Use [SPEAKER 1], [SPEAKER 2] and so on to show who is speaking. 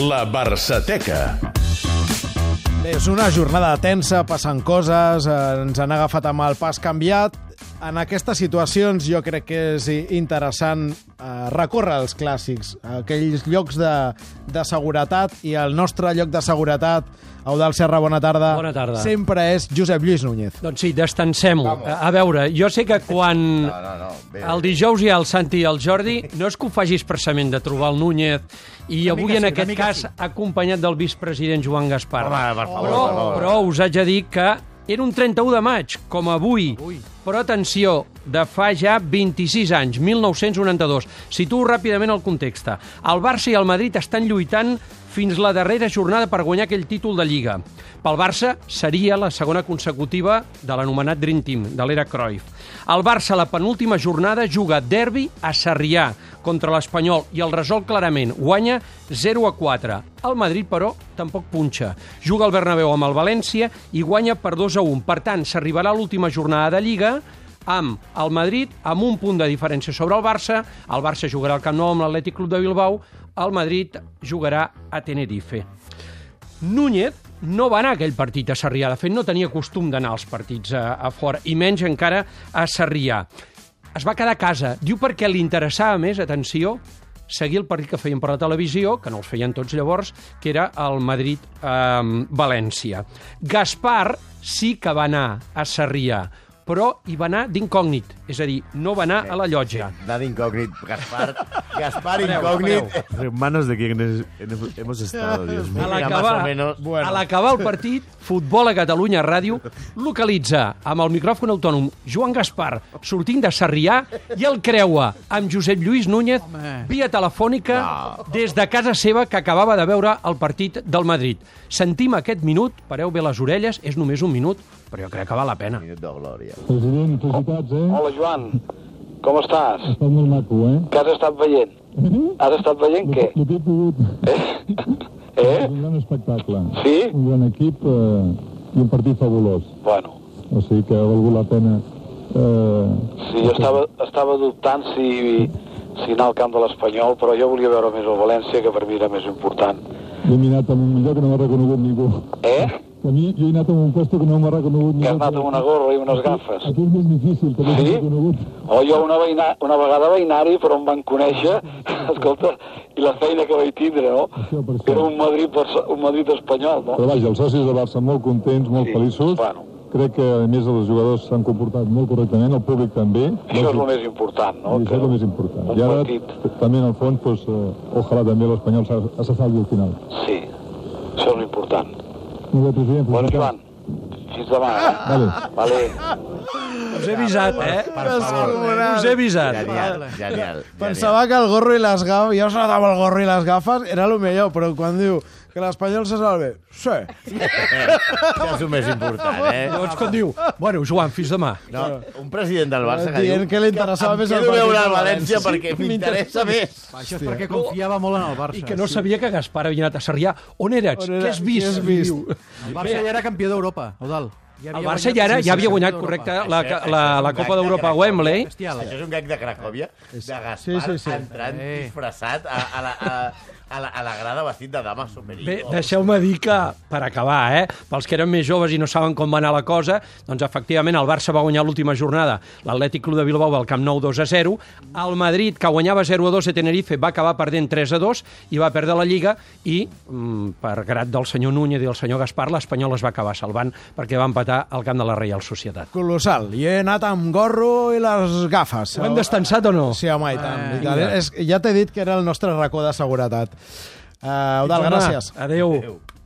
[SPEAKER 1] La Barçateca.
[SPEAKER 2] Bé, és una jornada tensa, passen coses, eh, ens han agafat amb el pas canviat. En aquestes situacions jo crec que és interessant eh, recórrer als clàssics, a aquells llocs de, de seguretat, i el nostre lloc de seguretat, Eudal Serra, bona tarda,
[SPEAKER 3] Bona tarda.
[SPEAKER 2] sempre és Josep Lluís Núñez.
[SPEAKER 3] Doncs sí, destancem-ho. A a veure, jo sé que quan no, no, no. el dijous hi ha el Santi i el Jordi, no és que ho faci expressament de trobar el Núñez, i avui en aquest cas acompanyat del vicepresident Joan Gaspar. Home, per favor, però, però us haig de dir que era un 31 de maig, com avui. avui. Però atenció, de fa ja 26 anys, 1992. Situo ràpidament el context. El Barça i el Madrid estan lluitant fins la darrera jornada per guanyar aquell títol de Lliga. Pel Barça seria la segona consecutiva de l'anomenat Dream Team, de l'era Cruyff. El Barça, a la penúltima jornada, juga derbi a Sarrià contra l'Espanyol i el resol clarament. Guanya 0 a 4. El Madrid, però, tampoc punxa. Juga al Bernabéu amb el València i guanya per 2 a 1. Per tant, s'arribarà a l'última jornada de Lliga amb el Madrid amb un punt de diferència sobre el Barça, el Barça jugarà al Camp Nou amb l'Atlètic Club de Bilbao, el Madrid jugarà a Tenerife. Núñez no va anar a aquell partit a Sarrià, de fet no tenia costum d'anar als partits a, a fora, i menys encara a Sarrià. Es va quedar a casa, diu perquè li interessava més, atenció, seguir el partit que feien per la televisió, que no els feien tots llavors, que era el Madrid-València. Gaspar sí que va anar a Sarrià, però hi va anar d'incògnit, és a dir, no va anar a la llotja.
[SPEAKER 4] Anar d'incògnit, Gaspar. Gaspar
[SPEAKER 3] Pareu,
[SPEAKER 4] incògnit.
[SPEAKER 3] pareu.
[SPEAKER 5] Hermanos de quienes hemos estado, Dios mío.
[SPEAKER 3] A
[SPEAKER 4] Mira, más o
[SPEAKER 3] l'acabar
[SPEAKER 4] menos.
[SPEAKER 3] bueno. l'acabar el partit, Futbol a Catalunya Ràdio localitza amb el micròfon autònom Joan Gaspar sortint de Sarrià i el creua amb Josep Lluís Núñez Home. via telefònica no. des de casa seva que acabava de veure el partit del Madrid. Sentim aquest minut, pareu bé les orelles, és només un minut, però jo crec que val la pena.
[SPEAKER 4] Minut de glòria.
[SPEAKER 6] President, felicitats, eh?
[SPEAKER 7] Hola, Joan. Com estàs?
[SPEAKER 6] Està molt maco, eh? Mhm.
[SPEAKER 7] Què has estat veient? Has estat veient què?
[SPEAKER 6] Ho t'he pogut...
[SPEAKER 7] Eh?
[SPEAKER 6] Un gran espectacle.
[SPEAKER 7] Sí?
[SPEAKER 6] Un gran equip eh, i un partit fabulós.
[SPEAKER 7] Bueno,
[SPEAKER 6] O sigui que ha valgut la pena... Eh,
[SPEAKER 7] sí, jo estava, estava dubtant si, si anar al camp de l'Espanyol, però jo volia veure més el València, que per mi era més important.
[SPEAKER 6] he anat amb un millor que no m'ha reconegut ningú.
[SPEAKER 7] Eh?
[SPEAKER 6] A mi, jo he anat amb un puesto que no m'ha reconegut ningú.
[SPEAKER 7] Que has anat amb una gorra i unes gafes.
[SPEAKER 6] Aquí és més difícil, que no m'ha
[SPEAKER 7] Sí?
[SPEAKER 6] reconegut.
[SPEAKER 7] O jo una, veïna, una vegada veïnari, però em van conèixer, escolta, i la feina que vaig tindre,
[SPEAKER 6] Això,
[SPEAKER 7] no?
[SPEAKER 6] per
[SPEAKER 7] Era
[SPEAKER 6] això.
[SPEAKER 7] un Madrid, perso- un Madrid espanyol, no?
[SPEAKER 6] Però vaja, els socis de Barça molt contents, molt
[SPEAKER 7] Sí,
[SPEAKER 6] feliços.
[SPEAKER 7] bueno.
[SPEAKER 6] Crec que, a més, els jugadors s'han comportat molt correctament, el públic també.
[SPEAKER 7] Això és el més important, no?
[SPEAKER 6] I això és
[SPEAKER 7] Que
[SPEAKER 6] el més important.
[SPEAKER 7] Un
[SPEAKER 6] I ara,
[SPEAKER 7] partit.
[SPEAKER 6] també en el fons, doncs, eh, ojalà també l'Espanyol s'ha- se salvi al final.
[SPEAKER 7] Sí, això és l'important.
[SPEAKER 6] Molt bé, president.
[SPEAKER 7] Bueno,
[SPEAKER 6] felicitats.
[SPEAKER 7] Joan, fins demà, eh?
[SPEAKER 6] Vale.
[SPEAKER 7] Vale.
[SPEAKER 3] Us he avisat, eh?
[SPEAKER 4] Per favor.
[SPEAKER 3] Us he avisat.
[SPEAKER 4] Genial, genial.
[SPEAKER 2] Pensava que el gorro i les gafes, jo sonava el gorro i les gafes, era el millor, però quan diu que l'espanyol se salve, sí.
[SPEAKER 4] Eh, Això és el més important, eh?
[SPEAKER 3] Llavors, quan diu, bueno, Joan, fins demà.
[SPEAKER 4] No, un president del Barça que
[SPEAKER 2] Dient
[SPEAKER 4] diu...
[SPEAKER 2] que li interessava més el
[SPEAKER 4] Quiero
[SPEAKER 2] partit
[SPEAKER 4] veure el
[SPEAKER 2] del
[SPEAKER 4] València
[SPEAKER 2] Sí,
[SPEAKER 4] perquè m'interessa més.
[SPEAKER 8] Això és perquè confiava molt en el Barça.
[SPEAKER 3] I que no sabia que Gaspar havia anat a Sarrià. On eres?
[SPEAKER 2] On era-
[SPEAKER 3] Què has
[SPEAKER 2] què
[SPEAKER 3] vist?
[SPEAKER 2] has vist?
[SPEAKER 3] Diu.
[SPEAKER 8] El Barça ja era campió d'Europa, Eudal. Ja
[SPEAKER 3] El
[SPEAKER 8] havia
[SPEAKER 3] Barça
[SPEAKER 8] guanyat
[SPEAKER 3] ja, era,
[SPEAKER 8] cinc
[SPEAKER 3] ja havia
[SPEAKER 8] seguides
[SPEAKER 3] guanyat
[SPEAKER 8] d'Europa.
[SPEAKER 3] correcte la,
[SPEAKER 4] Això-
[SPEAKER 3] la,
[SPEAKER 4] això és
[SPEAKER 3] la
[SPEAKER 4] un gag
[SPEAKER 3] Copa
[SPEAKER 4] de
[SPEAKER 3] d'Europa a
[SPEAKER 4] Cracòvia.
[SPEAKER 3] Wembley.
[SPEAKER 8] Bestial.
[SPEAKER 4] Això és un gag de Cracòvia, de Gaspar
[SPEAKER 2] Sí, sí, sí.
[SPEAKER 4] entrant
[SPEAKER 8] Eh.
[SPEAKER 4] disfressat a, a, la, a, a, la, a la grada vestit de dama superior.
[SPEAKER 3] Bé, deixeu-me dir que, per acabar, eh, pels que eren més joves i no saben com va anar la cosa, doncs efectivament el Barça va guanyar l'última jornada. L'Atlètic Club de Bilbao va al Camp Nou 2 a 0. El Madrid, que guanyava 0 a 2 a Tenerife, va acabar perdent 3 a 2 i va perdre la Lliga i, mm, per grat del senyor Núñez i el senyor Gaspar, l'Espanyol es va acabar salvant perquè va empatar al camp de la Reial Societat.
[SPEAKER 2] Colossal. I he anat amb gorro i les gafes.
[SPEAKER 3] Ho hem destensat o no?
[SPEAKER 2] Sí, home, i tant.
[SPEAKER 8] Ah,
[SPEAKER 2] I tant.
[SPEAKER 3] vinga.
[SPEAKER 2] És, ja t'he dit que era el nostre racó de seguretat. Uh, Eudal,
[SPEAKER 3] Home,
[SPEAKER 2] gràcies.
[SPEAKER 3] Adéu.
[SPEAKER 4] Adéu.